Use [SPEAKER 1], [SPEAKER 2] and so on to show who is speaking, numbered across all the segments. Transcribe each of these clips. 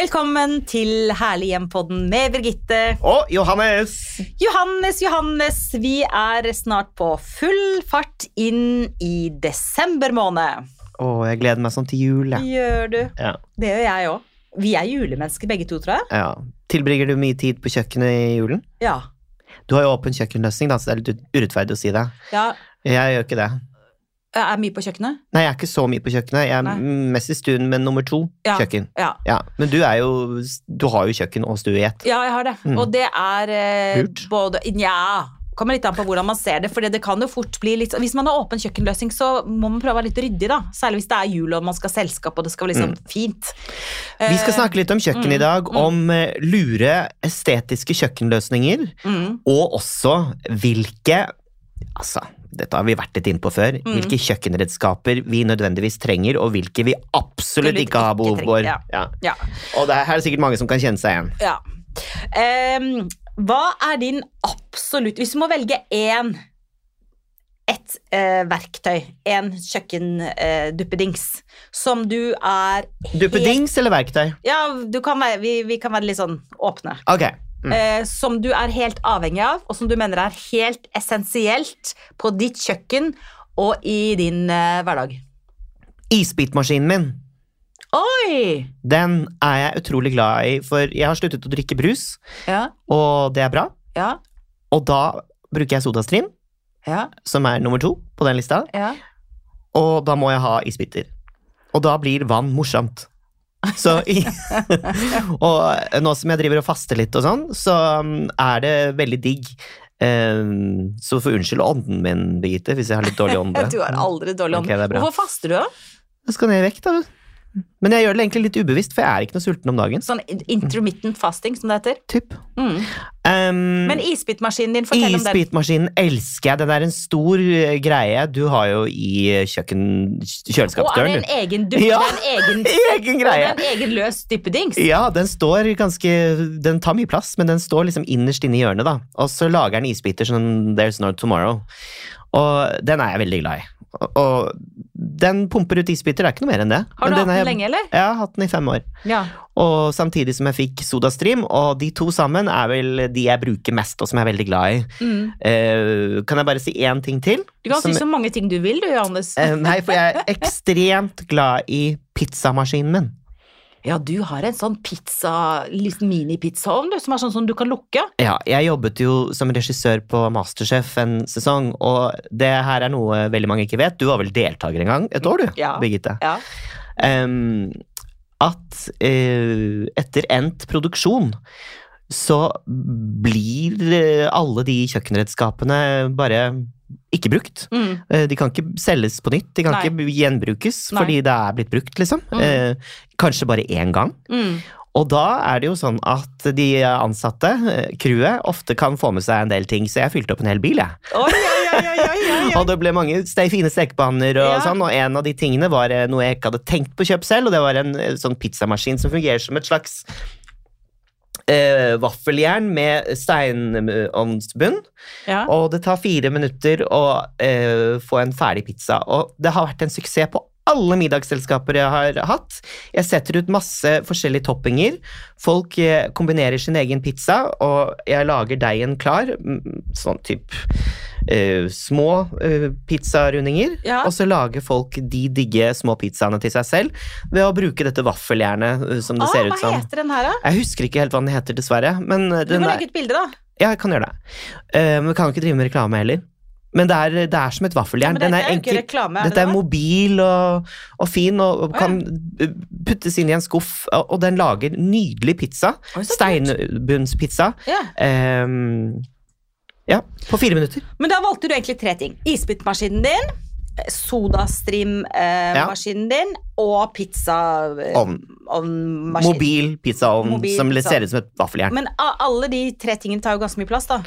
[SPEAKER 1] Velkommen til Herlig hjem-podden med Birgitte.
[SPEAKER 2] Og Johannes!
[SPEAKER 1] Johannes, Johannes, vi er snart på full fart inn i desember måned.
[SPEAKER 2] Å, jeg gleder meg sånn til jul. jeg.
[SPEAKER 1] Gjør du?
[SPEAKER 2] Ja.
[SPEAKER 1] Det gjør jeg òg. Vi er julemennesker begge to, tror jeg.
[SPEAKER 2] Ja. Tilbringer du mye tid på kjøkkenet i julen?
[SPEAKER 1] Ja.
[SPEAKER 2] Du har jo åpen kjøkkenløsning, da, så det er litt urettferdig å si det.
[SPEAKER 1] ja.
[SPEAKER 2] Jeg gjør ikke det.
[SPEAKER 1] Jeg er mye på kjøkkenet.
[SPEAKER 2] Nei, jeg er ikke så mye på kjøkkenet. Jeg er
[SPEAKER 1] Nei.
[SPEAKER 2] m- mest i stuen med nummer to.
[SPEAKER 1] Ja.
[SPEAKER 2] Kjøkken.
[SPEAKER 1] Ja.
[SPEAKER 2] Ja. Men du, er jo, du har jo kjøkken og stue i ett.
[SPEAKER 1] Ja, jeg har det.
[SPEAKER 2] Mm.
[SPEAKER 1] Og det er eh,
[SPEAKER 2] Lurt.
[SPEAKER 1] både Nja. Kommer litt an på hvordan man ser det. For det kan jo fort bli litt Hvis man har åpen kjøkkenløsning, så må man prøve å være litt ryddig, da. Særlig hvis det er jul og man skal ha selskap og det skal være liksom fint.
[SPEAKER 2] Mm.
[SPEAKER 1] Eh,
[SPEAKER 2] Vi skal snakke litt om kjøkken
[SPEAKER 1] Mm.
[SPEAKER 2] i dag, om eh, lure estetiske kjøkkenløsninger,
[SPEAKER 1] Mm.
[SPEAKER 2] og også hvilke Altså, dette har vi vært litt inne på før.
[SPEAKER 1] Mm.
[SPEAKER 2] Hvilke kjøkkenredskaper vi nødvendigvis trenger, og hvilke vi absolutt
[SPEAKER 1] Absolutt
[SPEAKER 2] ikke har
[SPEAKER 1] ikke
[SPEAKER 2] behov
[SPEAKER 1] trenger,
[SPEAKER 2] for.
[SPEAKER 1] ja.
[SPEAKER 2] Ja.
[SPEAKER 1] Ja.
[SPEAKER 2] Og det er, her er det sikkert mange som kan kjenne seg igjen.
[SPEAKER 1] ja. Ehm, hva er din absolutt Hvis du må velge én et eh, verktøy, en kjøkkenduppedings, som du er
[SPEAKER 2] Duppedings eller verktøy?
[SPEAKER 1] Ja, du kan være, vi, vi kan være litt sånn åpne.
[SPEAKER 2] Ok. Mm.
[SPEAKER 1] eh, som du er helt avhengig av, og som du mener er helt essensielt på ditt kjøkken og i din eh, hverdag.
[SPEAKER 2] Isbitmaskinen min,
[SPEAKER 1] Oi!
[SPEAKER 2] den er jeg utrolig glad i, for jeg har sluttet å drikke brus,
[SPEAKER 1] Ja,
[SPEAKER 2] og det er bra.
[SPEAKER 1] ja,
[SPEAKER 2] Og da bruker jeg sodastream,
[SPEAKER 1] ja.
[SPEAKER 2] som er nummer to på den lista,
[SPEAKER 1] ja.
[SPEAKER 2] og da må jeg ha isbiter. Og da blir vann morsomt. Så i, og nå som jeg driver og faster litt og sånn, så mm, er det veldig digg. Eh, Så får unnskyld ånden min, Birgitte, hvis jeg har litt dårlig ånde.
[SPEAKER 1] Du har aldri dårlig
[SPEAKER 2] Ok,
[SPEAKER 1] ånd.
[SPEAKER 2] det er bra.
[SPEAKER 1] Hvorfor faster du, da?
[SPEAKER 2] Jeg skal ned i vekt, da. Men jeg gjør det egentlig litt ubevisst, for jeg er ikke noe sulten om dagen.
[SPEAKER 1] Sånn in- intermittent fasting, som det heter.
[SPEAKER 2] Typ.
[SPEAKER 1] Mm.
[SPEAKER 2] Um,
[SPEAKER 1] Men isbitmaskinen din, fortell om den.
[SPEAKER 2] Isbitmaskinen elsker jeg. Den er en stor eh, greie du har jo i eh, kjøkken...
[SPEAKER 1] Og er det
[SPEAKER 2] kjøleskapsdøren.
[SPEAKER 1] en egen duppe?
[SPEAKER 2] Ja.
[SPEAKER 1] Det er en egen,
[SPEAKER 2] Egen
[SPEAKER 1] det
[SPEAKER 2] greie.
[SPEAKER 1] er en egen løs dyppedings?
[SPEAKER 2] Ja, den står ganske Den tar mye plass, men den står liksom innerst inne i hjørnet, da. Og så lager den isbiter som There's No Tomorrow. Og den er jeg veldig glad i. Og, og den pumper ut isbiter, det er ikke noe mer enn det.
[SPEAKER 1] Har du
[SPEAKER 2] Men
[SPEAKER 1] hatt den
[SPEAKER 2] er-
[SPEAKER 1] lenge, eller?
[SPEAKER 2] Jeg har hatt den i fem år.
[SPEAKER 1] Ja.
[SPEAKER 2] Og samtidig som jeg fikk Sodastream, og de to sammen er vel de jeg bruker mest, og som jeg er veldig glad i.
[SPEAKER 1] Mm.
[SPEAKER 2] Eh, kan jeg bare si én ting til?
[SPEAKER 1] Du kan
[SPEAKER 2] Som-
[SPEAKER 1] si så mange ting du vil, du, Johannes.
[SPEAKER 2] Eh, nei, for jeg er ekstremt glad i pizzamaskinen min.
[SPEAKER 1] Ja, du har en sånn pizza, liten mini-pizzaovn, du, som er sånn som du kan lukke.
[SPEAKER 2] Ja, jeg jobbet jo som regissør på Masterchef en sesong, og det her er noe veldig mange ikke vet. Du var vel deltaker en gang? Et år, du,
[SPEAKER 1] Ja.
[SPEAKER 2] Birgitte.
[SPEAKER 1] Ja.
[SPEAKER 2] Em, at eh, etter endt produksjon så blir eh, alle de kjøkkenredskapene bare ikke brukt.
[SPEAKER 1] Mm.
[SPEAKER 2] Eh, De kan ikke selges på nytt, de kan
[SPEAKER 1] Nei.
[SPEAKER 2] ikke gjenbrukes
[SPEAKER 1] Nei.
[SPEAKER 2] fordi det er blitt brukt, liksom.
[SPEAKER 1] Mm.
[SPEAKER 2] Eh, kanskje bare én gang.
[SPEAKER 1] Mm.
[SPEAKER 2] Og da er det jo sånn at de ansatte, eh, crewet, ofte kan få med seg en del ting, så jeg fylte opp en hel bil, jeg.
[SPEAKER 1] Oi, oi, oi, oi, oi, oi, oi.
[SPEAKER 2] Og det ble mange ste fine stekepanner og
[SPEAKER 1] Ja.
[SPEAKER 2] sånn, og en av de tingene var eh, noe jeg ikke hadde tenkt på å kjøpe selv, og det var en eh, sånn pizzamaskin som fungerer som et slags eh, vaffeljern med steinovnsbunn,
[SPEAKER 1] Ja.
[SPEAKER 2] og det tar fire minutter å eh, få en ferdig pizza. Og det har vært en suksess på alle middagsselskaper jeg har hatt. Jeg setter ut masse forskjellige toppinger. Folk eh, kombinerer sin egen pizza, og jeg lager deigen klar. mm, Sånn type små eh, pizzarundinger.
[SPEAKER 1] Ja.
[SPEAKER 2] Og så lager folk de digge små pizzaene til seg selv ved å bruke dette vaffeljernet eh, som det
[SPEAKER 1] Ah,
[SPEAKER 2] ser
[SPEAKER 1] hva
[SPEAKER 2] ut som.
[SPEAKER 1] heter den her, da?
[SPEAKER 2] Jeg husker ikke helt hva den heter, dessverre. Men eh,
[SPEAKER 1] Du
[SPEAKER 2] den
[SPEAKER 1] må
[SPEAKER 2] er,
[SPEAKER 1] legge ut bilde, da.
[SPEAKER 2] ja, jeg kan gjøre det. Eh, men vi kan jo ikke drive med reklame heller. Men det er, det er som et vaffeljern.
[SPEAKER 1] Men
[SPEAKER 2] Den
[SPEAKER 1] dette
[SPEAKER 2] er
[SPEAKER 1] er jo ikke
[SPEAKER 2] enkel.
[SPEAKER 1] reklame. Er
[SPEAKER 2] Dette
[SPEAKER 1] det
[SPEAKER 2] er
[SPEAKER 1] det?
[SPEAKER 2] mobil og, og fin og, og
[SPEAKER 1] Å,
[SPEAKER 2] kan eh, puttes inn i en skuff, og, og den lager nydelig pizza.
[SPEAKER 1] Oi, så kult.
[SPEAKER 2] Steinbunnspizza.
[SPEAKER 1] Ja.
[SPEAKER 2] Ehm, ja, på fire minutter.
[SPEAKER 1] Men da valgte du egentlig tre ting. Isbitmaskinen din,
[SPEAKER 2] Ja.
[SPEAKER 1] sodastream-maskinen din og eh, pizzaovnmaskinen.
[SPEAKER 2] Ovn. Mobil pizzaovn
[SPEAKER 1] Mobil
[SPEAKER 2] som
[SPEAKER 1] pizza.
[SPEAKER 2] ser ut som et vaffeljern.
[SPEAKER 1] Men a- alle de tre tingene tar jo ganske mye plass, da.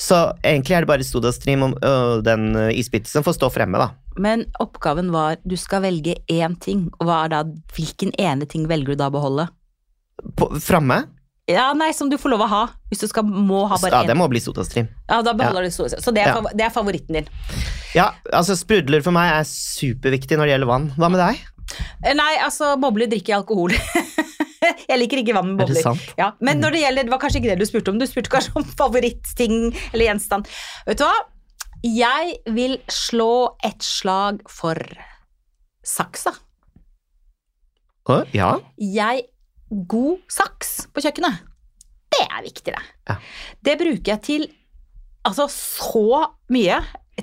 [SPEAKER 2] Så egentlig er det bare Sodastream og øh, den øh, isbiten som får stå fremme, da.
[SPEAKER 1] Men oppgaven var du skal velge én ting, og hva er da, hvilken ene ting velger du da å beholde?
[SPEAKER 2] På, framme?
[SPEAKER 1] Ja, nei, som du får lov å ha. Hvis du skal, må ha bare
[SPEAKER 2] Ja,
[SPEAKER 1] én.
[SPEAKER 2] det må bli Sodastream.
[SPEAKER 1] Ja, da beholder du solsiden. Så det er,
[SPEAKER 2] Ja.
[SPEAKER 1] fav- det er favoritten din.
[SPEAKER 2] Ja, altså sprudler for meg er superviktig når det gjelder vann. Hva med deg?
[SPEAKER 1] Eh, Nei, altså, bobler drikker jeg alkohol. Jeg liker ikke vann med
[SPEAKER 2] Er det
[SPEAKER 1] bobler.
[SPEAKER 2] sant? Mm.
[SPEAKER 1] Ja, men når det gjelder, det var kanskje ikke det du spurte om. Du spurte kanskje om favorittting eller gjenstand. Vet du hva? Jeg vil slå et slag for saksa.
[SPEAKER 2] Å, Ja.
[SPEAKER 1] Jeg God saks på kjøkkenet. Det er viktig, det.
[SPEAKER 2] Ja.
[SPEAKER 1] Det bruker jeg til altså så mye.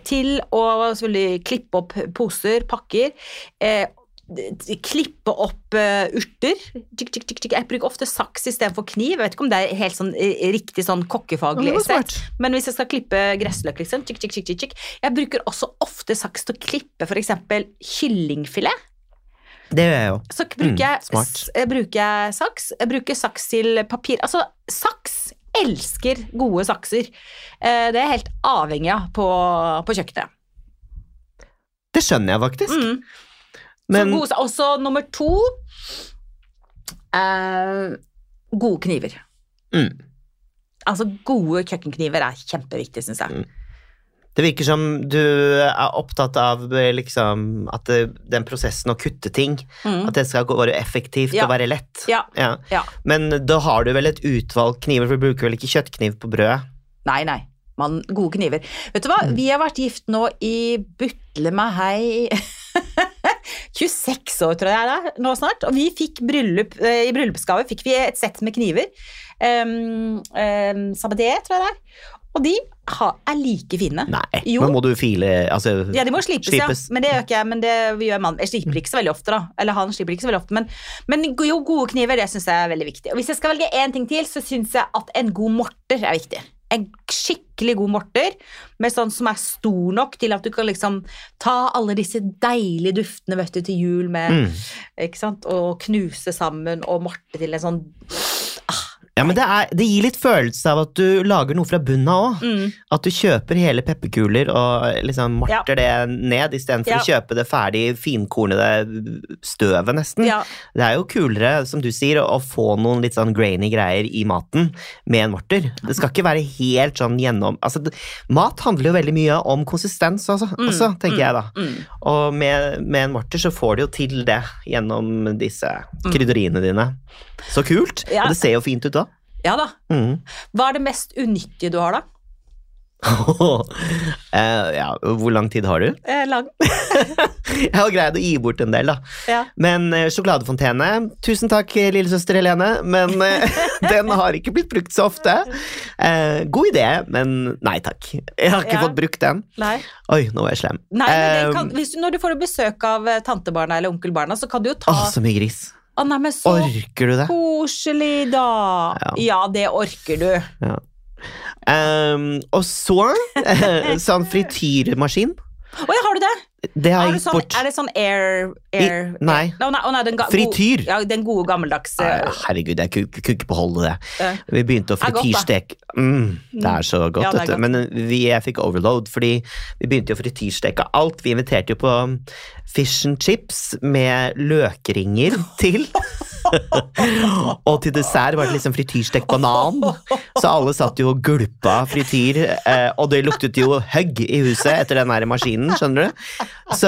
[SPEAKER 1] Til å selvfølgelig klippe opp poser, pakker. Eh, d- klippe opp eh, urter. Tjikk, tjikk, tjikk, tjikk. Jeg bruker ofte saks istedenfor kniv. Jeg vet ikke om det er helt sånn eh, riktig sånn
[SPEAKER 2] Ja,
[SPEAKER 1] kokkefaglig
[SPEAKER 2] det var
[SPEAKER 1] sett. Men hvis jeg skal klippe gressløk, liksom tjikk, tjikk, tjikk, tjikk, tjikk. Jeg bruker også ofte saks til å klippe f.eks. kyllingfilet.
[SPEAKER 2] Det gjør jeg jo.
[SPEAKER 1] Så k- bruker,
[SPEAKER 2] Mm,
[SPEAKER 1] jeg,
[SPEAKER 2] smart.
[SPEAKER 1] s- eh, bruker jeg saks. Jeg bruker saks til papir. Altså, saks elsker gode sakser. Eh, Det er jeg helt avhengig av på, på kjøkkenet.
[SPEAKER 2] Det skjønner jeg faktisk.
[SPEAKER 1] Mm.
[SPEAKER 2] Men
[SPEAKER 1] Så gode, sa- også nummer to eh, Gode kniver.
[SPEAKER 2] Mm.
[SPEAKER 1] Altså, gode kjøkkenkniver er kjempeviktig, syns jeg.
[SPEAKER 2] det virker som du er opptatt av eh, liksom, at det, den prosessen å kutte ting
[SPEAKER 1] Mm.
[SPEAKER 2] At det skal gå- være effektivt
[SPEAKER 1] Ja.
[SPEAKER 2] og være lett.
[SPEAKER 1] Ja.
[SPEAKER 2] Ja.
[SPEAKER 1] Ja.
[SPEAKER 2] Men da har du vel et utvalg kniver, for du bruker vel ikke kjøttkniv på brød?
[SPEAKER 1] Nei, nei. Man, gode kniver. Vet du hva, vi har vært gift nå i butle meg hei 26 år, tror jeg det er nå snart. Og vi fikk bryllup, eh, i bryllupsgave fikk vi et sett med kniver. Um, um, Sabadé, tror jeg det er. Og de har, er like fine.
[SPEAKER 2] Nei,
[SPEAKER 1] Jo.
[SPEAKER 2] nå må du file altså,
[SPEAKER 1] Ja, de må slipes,
[SPEAKER 2] Slipes.
[SPEAKER 1] ja. Men det gjør ikke jeg. Men det gjør mannen. Jeg sliper ikke så veldig ofte, da. Eller han sliper ikke så veldig ofte. Men, men jo, gode kniver, det syns jeg er veldig viktig. Og hvis jeg skal velge én ting til, så syns jeg at en god morter er viktig. En skikkelig god morter, med sånn som er stor nok til at du kan liksom ta alle disse deilige duftene vet du, til jul med
[SPEAKER 2] Mm.
[SPEAKER 1] ikke sant? Og knuse sammen og morte til en sånn ah,
[SPEAKER 2] Ja, men det, er, det gir litt følelse av at du lager noe fra bunnen av òg.
[SPEAKER 1] mm,
[SPEAKER 2] At du kjøper hele pepperkuler og liksom morter det ned, istedenfor
[SPEAKER 1] Ja.
[SPEAKER 2] å kjøpe det ferdig finkornede støvet, nesten.
[SPEAKER 1] Ja.
[SPEAKER 2] Det er jo kulere, som du sier, å, å få noen litt sånn grainy greier i maten med en morter. Det skal ikke være helt sånn gjennom... Altså, det, mat handler jo veldig mye om konsistens også, også tenker jeg da.
[SPEAKER 1] Mm.
[SPEAKER 2] Og med, med en morter så får du jo til det gjennom disse krydderiene dine. Så kult!
[SPEAKER 1] Mm. Ja.
[SPEAKER 2] Og det ser jo fint ut òg.
[SPEAKER 1] Ja da.
[SPEAKER 2] Mm.
[SPEAKER 1] Hva er det mest unyttige du har, da?
[SPEAKER 2] Eh, ja, hvor lang tid har du?
[SPEAKER 1] Eh, lang.
[SPEAKER 2] Jeg har greid å gi bort en del, da.
[SPEAKER 1] Ja.
[SPEAKER 2] Men eh, sjokoladefontene Tusen takk, eh, lillesøster Helene, men eh, den har ikke blitt brukt så ofte. Eh, god idé, men nei takk. Jeg har ikke
[SPEAKER 1] Ja.
[SPEAKER 2] fått brukt den.
[SPEAKER 1] Nei.
[SPEAKER 2] Oi, nå var jeg slem.
[SPEAKER 1] Nei, men det kan,
[SPEAKER 2] Um,
[SPEAKER 1] hvis du, Når du får besøk av eh, tantebarna eller onkelbarna, så kan du jo ta
[SPEAKER 2] Å,
[SPEAKER 1] Å,
[SPEAKER 2] så mye gris.
[SPEAKER 1] nei, men så
[SPEAKER 2] Orker du det?
[SPEAKER 1] koselig, da! Ja. det orker du.
[SPEAKER 2] Um, og så eh, sånn frityrmaskin.
[SPEAKER 1] Å ja, har du det?
[SPEAKER 2] Det har
[SPEAKER 1] Er,
[SPEAKER 2] jeg
[SPEAKER 1] du
[SPEAKER 2] gitt
[SPEAKER 1] sånn,
[SPEAKER 2] bort.
[SPEAKER 1] er det sånn air, air
[SPEAKER 2] I- nei.
[SPEAKER 1] Å, nei, å, nei, den ga,
[SPEAKER 2] Frityr.
[SPEAKER 1] God, ja, den gode eh, gammeldagse
[SPEAKER 2] Nei, Herregud, jeg kunne kunne ikke beholde det.
[SPEAKER 1] eh,
[SPEAKER 2] Vi begynte å
[SPEAKER 1] Det er godt, da.
[SPEAKER 2] frityrsteke mm, Det er så godt,
[SPEAKER 1] Ja, det er
[SPEAKER 2] vet du. Men eh, vi, jeg fikk overload, fordi vi begynte å frityrsteke alt. Vi inviterte jo på fish and chips med løkringer til. og til dessert var det liksom frityrstekt banan. Så alle satt jo og gulpa frityr, eh, og det luktet jo høgg i huset etter den her maskinen, skjønner du. Så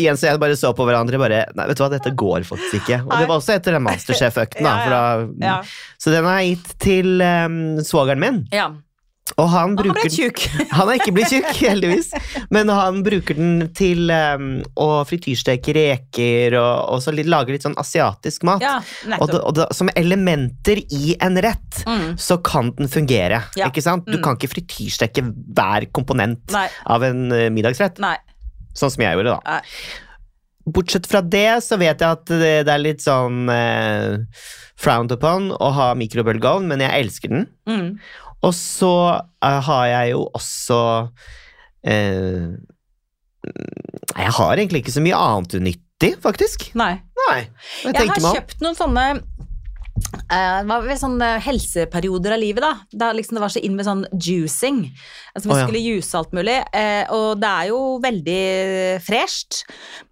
[SPEAKER 2] Jens og jeg bare så på hverandre bare Nei, vet du hva, dette går faktisk ikke. Og det var også etter den Masterchef-økten, da. For da
[SPEAKER 1] Ja.
[SPEAKER 2] så den er gitt til um, svogeren min,
[SPEAKER 1] ja.
[SPEAKER 2] og han
[SPEAKER 1] Han ble
[SPEAKER 2] bruker den
[SPEAKER 1] tjukk.
[SPEAKER 2] han er ikke blitt tjukk, heldigvis, men han bruker den til um, å frityrsteke reker og, og så litt, lage litt sånn asiatisk mat.
[SPEAKER 1] Ja,
[SPEAKER 2] og da-
[SPEAKER 1] nettopp.
[SPEAKER 2] og da- som elementer i en rett,
[SPEAKER 1] Mm.
[SPEAKER 2] så kan den fungere.
[SPEAKER 1] Ja.
[SPEAKER 2] ikke sant? Du
[SPEAKER 1] Mm.
[SPEAKER 2] kan ikke frityrsteke hver komponent
[SPEAKER 1] Nei.
[SPEAKER 2] av en eh, middagsrett,
[SPEAKER 1] Nei.
[SPEAKER 2] sånn som jeg gjorde, da.
[SPEAKER 1] Nei.
[SPEAKER 2] Bortsett fra det så vet jeg at det, det er litt sånn eh, frowned upon å ha mikrobølgeovn, men jeg elsker den.
[SPEAKER 1] Mm.
[SPEAKER 2] Og så eh, har jeg jo også eh, Jeg har egentlig ikke så mye annet unyttig, faktisk.
[SPEAKER 1] nei.
[SPEAKER 2] Nei. Jeg,
[SPEAKER 1] Jeg
[SPEAKER 2] tenker
[SPEAKER 1] har
[SPEAKER 2] meg om.
[SPEAKER 1] kjøpt noen sånne eh, hva var det, sånne helseperioder av livet, da. Da liksom det var så inn med sånn juicing. Altså man
[SPEAKER 2] Å, ja.
[SPEAKER 1] skulle juice alt mulig. eh, og det er jo veldig fresht.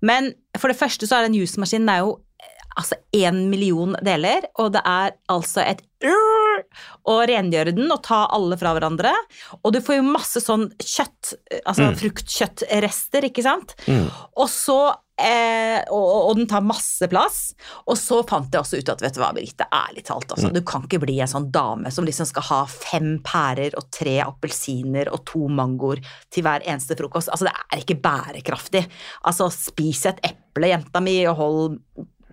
[SPEAKER 1] Men for det første så er den juicemaskinen det er jo eh, altså én million deler, og det er altså et ur å rengjøre den og ta alle fra hverandre. Og du får jo masse sånn kjøtt, eh, altså
[SPEAKER 2] Mm.
[SPEAKER 1] fruktkjøttrester, ikke sant.
[SPEAKER 2] Mm.
[SPEAKER 1] Og så eh, og, og- og den tar masse plass. Og så fant jeg også ut at vet du hva, Birgitte, ærlig talt,
[SPEAKER 2] Mm.
[SPEAKER 1] altså, du kan ikke bli en sånn dame som liksom skal ha fem pærer og tre appelsiner og to mangoer til hver eneste frokost. Altså, det er ikke bærekraftig. Altså, spis et eple, jenta mi, og hold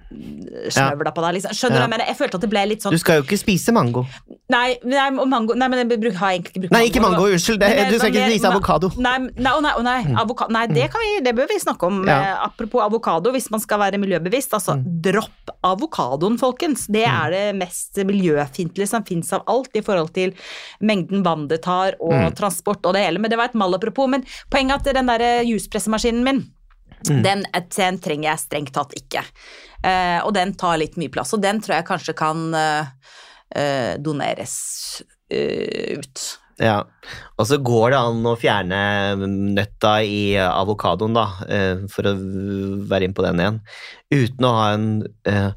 [SPEAKER 1] mm, snøvla på deg, liksom. Skjønner du
[SPEAKER 2] Ja.
[SPEAKER 1] hva jeg mener? Jeg følte at det ble litt sånn
[SPEAKER 2] Du skal jo ikke spise mango.
[SPEAKER 1] Nei, nei, og mango, nei men jeg bruk, har egentlig ikke brukt
[SPEAKER 2] Nei, ikke mango, unnskyld. Det,
[SPEAKER 1] Men-
[SPEAKER 2] du skal
[SPEAKER 1] men-
[SPEAKER 2] ikke spise
[SPEAKER 1] men-
[SPEAKER 2] avokado. Mm.
[SPEAKER 1] Nei, nei, å nei, å nei, avoka- nei det, kan vi, det bør vi snakke om.
[SPEAKER 2] Ja. Mm.
[SPEAKER 1] Eh, Apropos avokado, hvis man skal være miljøbevisst. Altså, dropp avokadoen, folkens. Det er det mest miljøfiendtlige som fins av alt i forhold til mengden vann det tar, og
[SPEAKER 2] Mm.
[SPEAKER 1] transport og det hele. Men det var et malapropos. Men poenget er at den der eh, juspressemaskinen min,
[SPEAKER 2] Mm.
[SPEAKER 1] den, eh, den trenger jeg strengt tatt ikke. Eh, og den tar litt mye plass, og den tror jeg kanskje kan eh, eh, doneres eh, ut.
[SPEAKER 2] Ja. Og så går det an å fjerne nøtta i avokadoen, da, eh, for å være inn på den igjen, uten å ha en eh,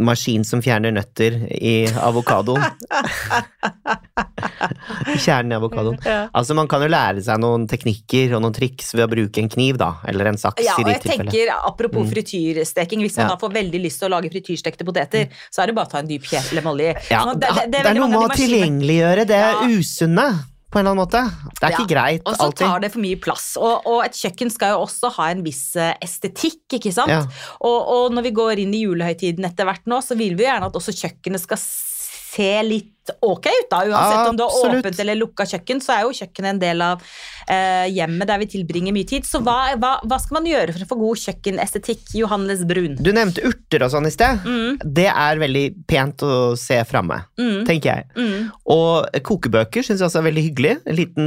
[SPEAKER 2] maskin som fjerner nøtter i avokadoen. Kjernen i avokadoen. Altså, man kan jo lære seg noen teknikker og noen triks ved å bruke en kniv, da, eller en saks
[SPEAKER 1] Ja,
[SPEAKER 2] i
[SPEAKER 1] og
[SPEAKER 2] de
[SPEAKER 1] jeg
[SPEAKER 2] tilfellene.
[SPEAKER 1] tenker apropos frityrsteking, hvis man
[SPEAKER 2] Ja. Mm.
[SPEAKER 1] da får veldig lyst til å lage frityrstekte poteter, så er det bare å ta en dyp kjefle med olje. i.
[SPEAKER 2] Ja,
[SPEAKER 1] Sånn at
[SPEAKER 2] det, det, er
[SPEAKER 1] veldig
[SPEAKER 2] noe
[SPEAKER 1] mange
[SPEAKER 2] med
[SPEAKER 1] av de
[SPEAKER 2] å
[SPEAKER 1] maskinene-
[SPEAKER 2] tilgjengeliggjøre det
[SPEAKER 1] Ja.
[SPEAKER 2] usunne, på en eller annen måte. Det er
[SPEAKER 1] Ja,
[SPEAKER 2] ikke greit,
[SPEAKER 1] Og så
[SPEAKER 2] alltid.
[SPEAKER 1] tar det for mye plass. Og, og et kjøkken skal jo også ha en viss eh, estetikk, ikke sant?
[SPEAKER 2] Ja.
[SPEAKER 1] Og, og når vi går inn i julehøytiden etter hvert nå, så vil vi jo gjerne at også kjøkkenet skal se litt ok ut, da. Uansett om du har
[SPEAKER 2] Absolutt.
[SPEAKER 1] åpent eller lukka kjøkken, så er jo kjøkkenet en del av eh, hjemmet der vi tilbringer mye tid. Så hva, hva, hva skal man gjøre for å få god kjøkkenestetikk? Johannes Brun.
[SPEAKER 2] Du nevnte urter og sånn i sted.
[SPEAKER 1] Mm,
[SPEAKER 2] Det er veldig pent å se framme,
[SPEAKER 1] mm,
[SPEAKER 2] tenker jeg.
[SPEAKER 1] mm,
[SPEAKER 2] Og kokebøker syns jeg også er veldig hyggelig. En liten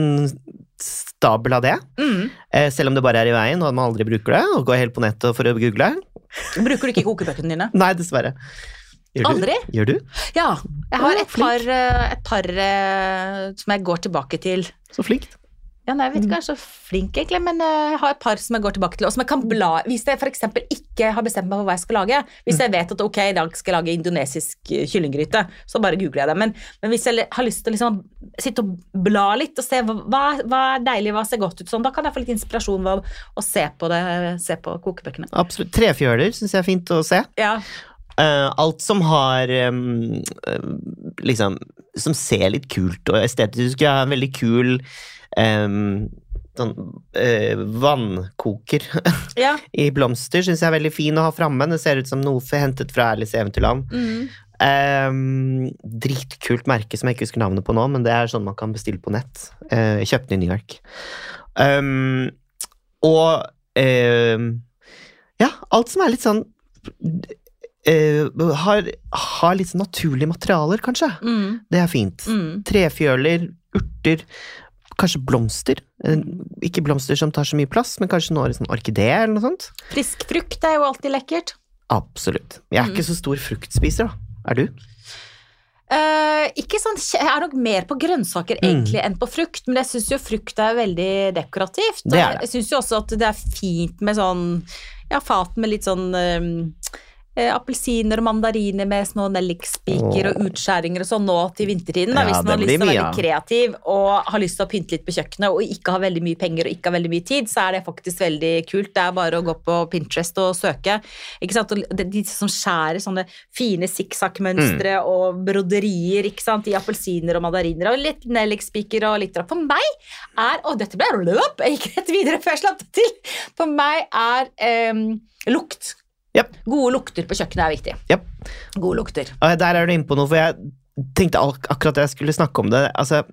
[SPEAKER 2] stabel av det.
[SPEAKER 1] mm.
[SPEAKER 2] Eh, Selv om det bare er i veien og at man aldri bruker det. Og går helt på nettet for å google.
[SPEAKER 1] Bruker du ikke kokebøkene dine?
[SPEAKER 2] Nei, dessverre. Gjør du?
[SPEAKER 1] Aldri?
[SPEAKER 2] Gjør du?
[SPEAKER 1] Ja. Jeg har
[SPEAKER 2] Ja,
[SPEAKER 1] et par, eh, et par eh, som jeg går tilbake til.
[SPEAKER 2] Så flink.
[SPEAKER 1] Ja, nei, jeg vet ikke, jeg er så flink egentlig, men eh, jeg har et par som jeg går tilbake til, og som jeg kan bla Hvis jeg for eksempel ikke har bestemt meg for hva jeg skal lage, hvis jeg vet at ok, i dag skal jeg lage indonesisk eh, kyllinggryte, så bare googler jeg det. Men, men hvis jeg li- har lyst til å liksom sitte og bla litt og se hva, hva- hva er deilig, hva ser godt ut sånn, da kan jeg få litt inspirasjon ved å, å se på det, se på kokebøkene.
[SPEAKER 2] Absolutt. Trefjøler syns jeg er fint å se.
[SPEAKER 1] Ja.
[SPEAKER 2] Eh, alt som har em, eh, Liksom Som ser litt kult og estetisk ut. Jeg har en veldig kul em, sånn eh, vannkoker
[SPEAKER 1] ja.
[SPEAKER 2] i blomster syns jeg er veldig fin å ha framme. Det ser ut som noe for- hentet fra Alice i Eventyrland.
[SPEAKER 1] Mm.
[SPEAKER 2] Ehm, dritkult merke som jeg ikke husker navnet på nå, men det er sånn man kan bestille på nett. Eh, jeg kjøpte den i New York. Ehm, og ehm, ja, alt som er litt sånn eh, har, har litt sånn naturlige materialer, kanskje.
[SPEAKER 1] Mm.
[SPEAKER 2] Det er fint.
[SPEAKER 1] Mm.
[SPEAKER 2] Trefjøler, urter, kanskje blomster. Eh, Ikke blomster som tar så mye plass, men kanskje noe sånn orkidé eller noe sånt.
[SPEAKER 1] Frisk frukt er jo alltid lekkert.
[SPEAKER 2] Absolutt. Jeg er ikke så stor fruktspiser, da. Er du?
[SPEAKER 1] Eh, ikke sånn, kje- jeg er nok mer på
[SPEAKER 2] Mm.
[SPEAKER 1] grønnsaker egentlig enn på frukt, men jeg syns jo frukt er veldig dekorativt. og
[SPEAKER 2] Det er det.
[SPEAKER 1] Jeg syns jo også at det er fint med sånn ja, fat med litt sånn eh, eh, Appelsiner og mandariner med små nellikspiker og utskjæringer og sånn nå til vintertiden. Da,
[SPEAKER 2] Ja,
[SPEAKER 1] hvis man har
[SPEAKER 2] det
[SPEAKER 1] lyst til å
[SPEAKER 2] blir
[SPEAKER 1] være
[SPEAKER 2] mye
[SPEAKER 1] litt kreativ og har lyst til å pynte litt på kjøkkenet og ikke har veldig mye penger og ikke har veldig mye tid, så er det faktisk veldig kult. Det er bare å gå på Pinterest og søke. Ikke sant? Og de, de som skjærer sånne fine sikksakkmønstre
[SPEAKER 2] Mm.
[SPEAKER 1] og broderier ikke sant? i appelsiner og mandariner og litt nellikspiker og litt For meg er Og dette ble løp! Jeg gikk rett videre før jeg slapp det til. For meg er em, lukt.
[SPEAKER 2] Japp.
[SPEAKER 1] Gode lukter på kjøkkenet er viktig.
[SPEAKER 2] Japp.
[SPEAKER 1] Gode lukter.
[SPEAKER 2] Ah, Der er du inne på noe, for jeg tenkte ak akkurat jeg skulle snakke om det. Altså,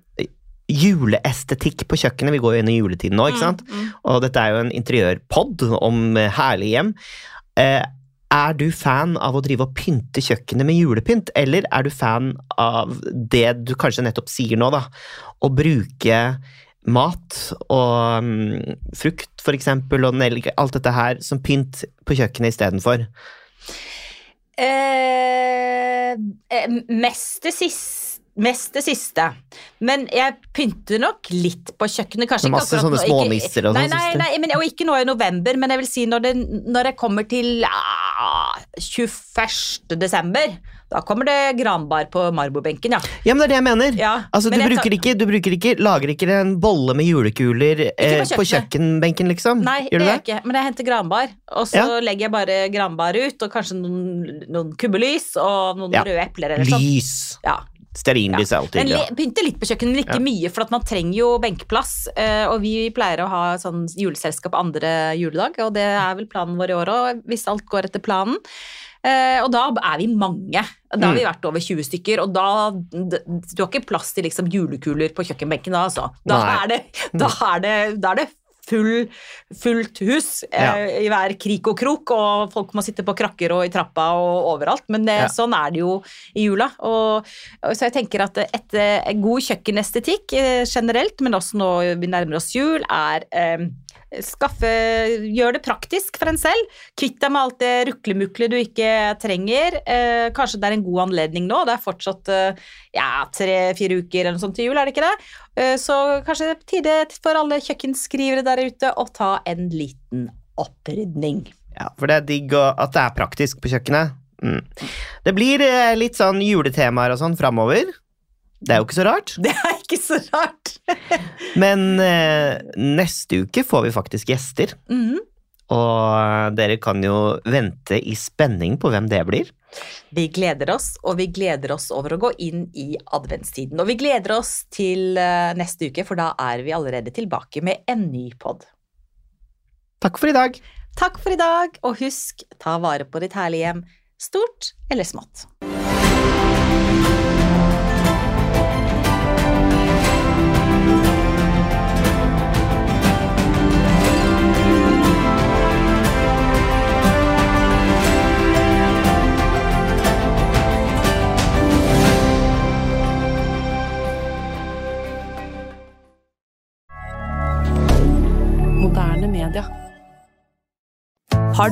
[SPEAKER 2] juleestetikk på kjøkkenet. Vi går jo inn i juletiden nå, ikke sant?
[SPEAKER 1] Mm,
[SPEAKER 2] Og dette er jo en interiørpod om eh, herlige hjem. Eh, er du fan av å drive og pynte kjøkkenet med julepynt, eller er du fan av det du kanskje nettopp sier nå, da? Å bruke mat og mm, frukt, for eksempel, og nellik, alt dette her som pynt på kjøkkenet istedenfor?
[SPEAKER 1] mm. Eh, eh, mest det siste. Mest det siste. Men jeg pynter nok litt på kjøkkenet. Kanskje
[SPEAKER 2] Med
[SPEAKER 1] ikke
[SPEAKER 2] masse
[SPEAKER 1] akkurat
[SPEAKER 2] sånne
[SPEAKER 1] nå,
[SPEAKER 2] smånisser og
[SPEAKER 1] ikke-
[SPEAKER 2] sånn,
[SPEAKER 1] Nei,
[SPEAKER 2] synes
[SPEAKER 1] nei,
[SPEAKER 2] du?
[SPEAKER 1] nei men, og ikke nå i november, men jeg vil si når, det, når jeg kommer til ah, 21. desember. Da kommer det granbar på marmorbenken, ja.
[SPEAKER 2] Ja, men det er det jeg mener.
[SPEAKER 1] ja.
[SPEAKER 2] Altså, du,
[SPEAKER 1] men jeg tar-
[SPEAKER 2] bruker ikke, du bruker ikke, lager ikke en bolle med julekuler eh,
[SPEAKER 1] på
[SPEAKER 2] på kjøkkenbenken, liksom?
[SPEAKER 1] Nei, det gjør
[SPEAKER 2] Gjør du det?
[SPEAKER 1] jeg ikke. Men jeg henter granbar, og så
[SPEAKER 2] Ja.
[SPEAKER 1] legger jeg bare granbar ut, og kanskje noen, noen kubbelys og noen
[SPEAKER 2] Ja.
[SPEAKER 1] røde epler eller sånn.
[SPEAKER 2] Lys.
[SPEAKER 1] Ja.
[SPEAKER 2] Stearinlys er alltid
[SPEAKER 1] Men
[SPEAKER 2] bra.
[SPEAKER 1] le- pynte litt på kjøkkenet, men ikke
[SPEAKER 2] Ja.
[SPEAKER 1] mye, for at man trenger jo benkeplass. eh, Og vi pleier å ha sånn juleselskap andre juledag, og det er vel planen vår i år òg, hvis alt går etter planen. Eh, Og da er vi mange. Da har
[SPEAKER 2] Mm.
[SPEAKER 1] vi vært over 20 stykker, og da d- Du har ikke plass til liksom julekuler på kjøkkenbenken da, altså. Da
[SPEAKER 2] Nei.
[SPEAKER 1] er det,
[SPEAKER 2] Mm.
[SPEAKER 1] da er det, da er det full, fullt hus eh,
[SPEAKER 2] Ja.
[SPEAKER 1] i hver krik og krok, og folk må sitte på krakker og i trappa og overalt. Men eh,
[SPEAKER 2] Ja.
[SPEAKER 1] sånn er det jo i jula. Og, og så jeg tenker at et, eh, god kjøkkenestetikk eh, generelt, men også nå vi nærmer oss jul, er eh, skaffe Gjør det praktisk for en selv. Kvitt deg med alt det ruklemuklet du ikke trenger. Eh, kanskje det er en god anledning nå. Det er fortsatt eh, ja, tre-fire uker eller noe sånt til jul, er det ikke det? Eh, så kanskje det er på tide for alle kjøkkenskrivere der ute å ta en liten opprydning.
[SPEAKER 2] Ja, for det er digg å- at det er praktisk på kjøkkenet. Mm. Det blir eh, litt sånn juletemaer og sånn framover. Det er jo ikke så rart.
[SPEAKER 1] Det er ikke så rart.
[SPEAKER 2] Men eh, neste uke får vi faktisk gjester.
[SPEAKER 1] Mhm.
[SPEAKER 2] Og dere kan jo vente i spenning på hvem det blir.
[SPEAKER 1] Vi gleder oss, og vi gleder oss over å gå inn i adventstiden. Og vi gleder oss til eh, neste uke, for da er vi allerede tilbake med en ny pod.
[SPEAKER 2] Takk for i dag.
[SPEAKER 1] Takk for i dag, og husk, ta vare på ditt herlige hjem, stort eller smått.
[SPEAKER 3] Moderne media.
[SPEAKER 4] Har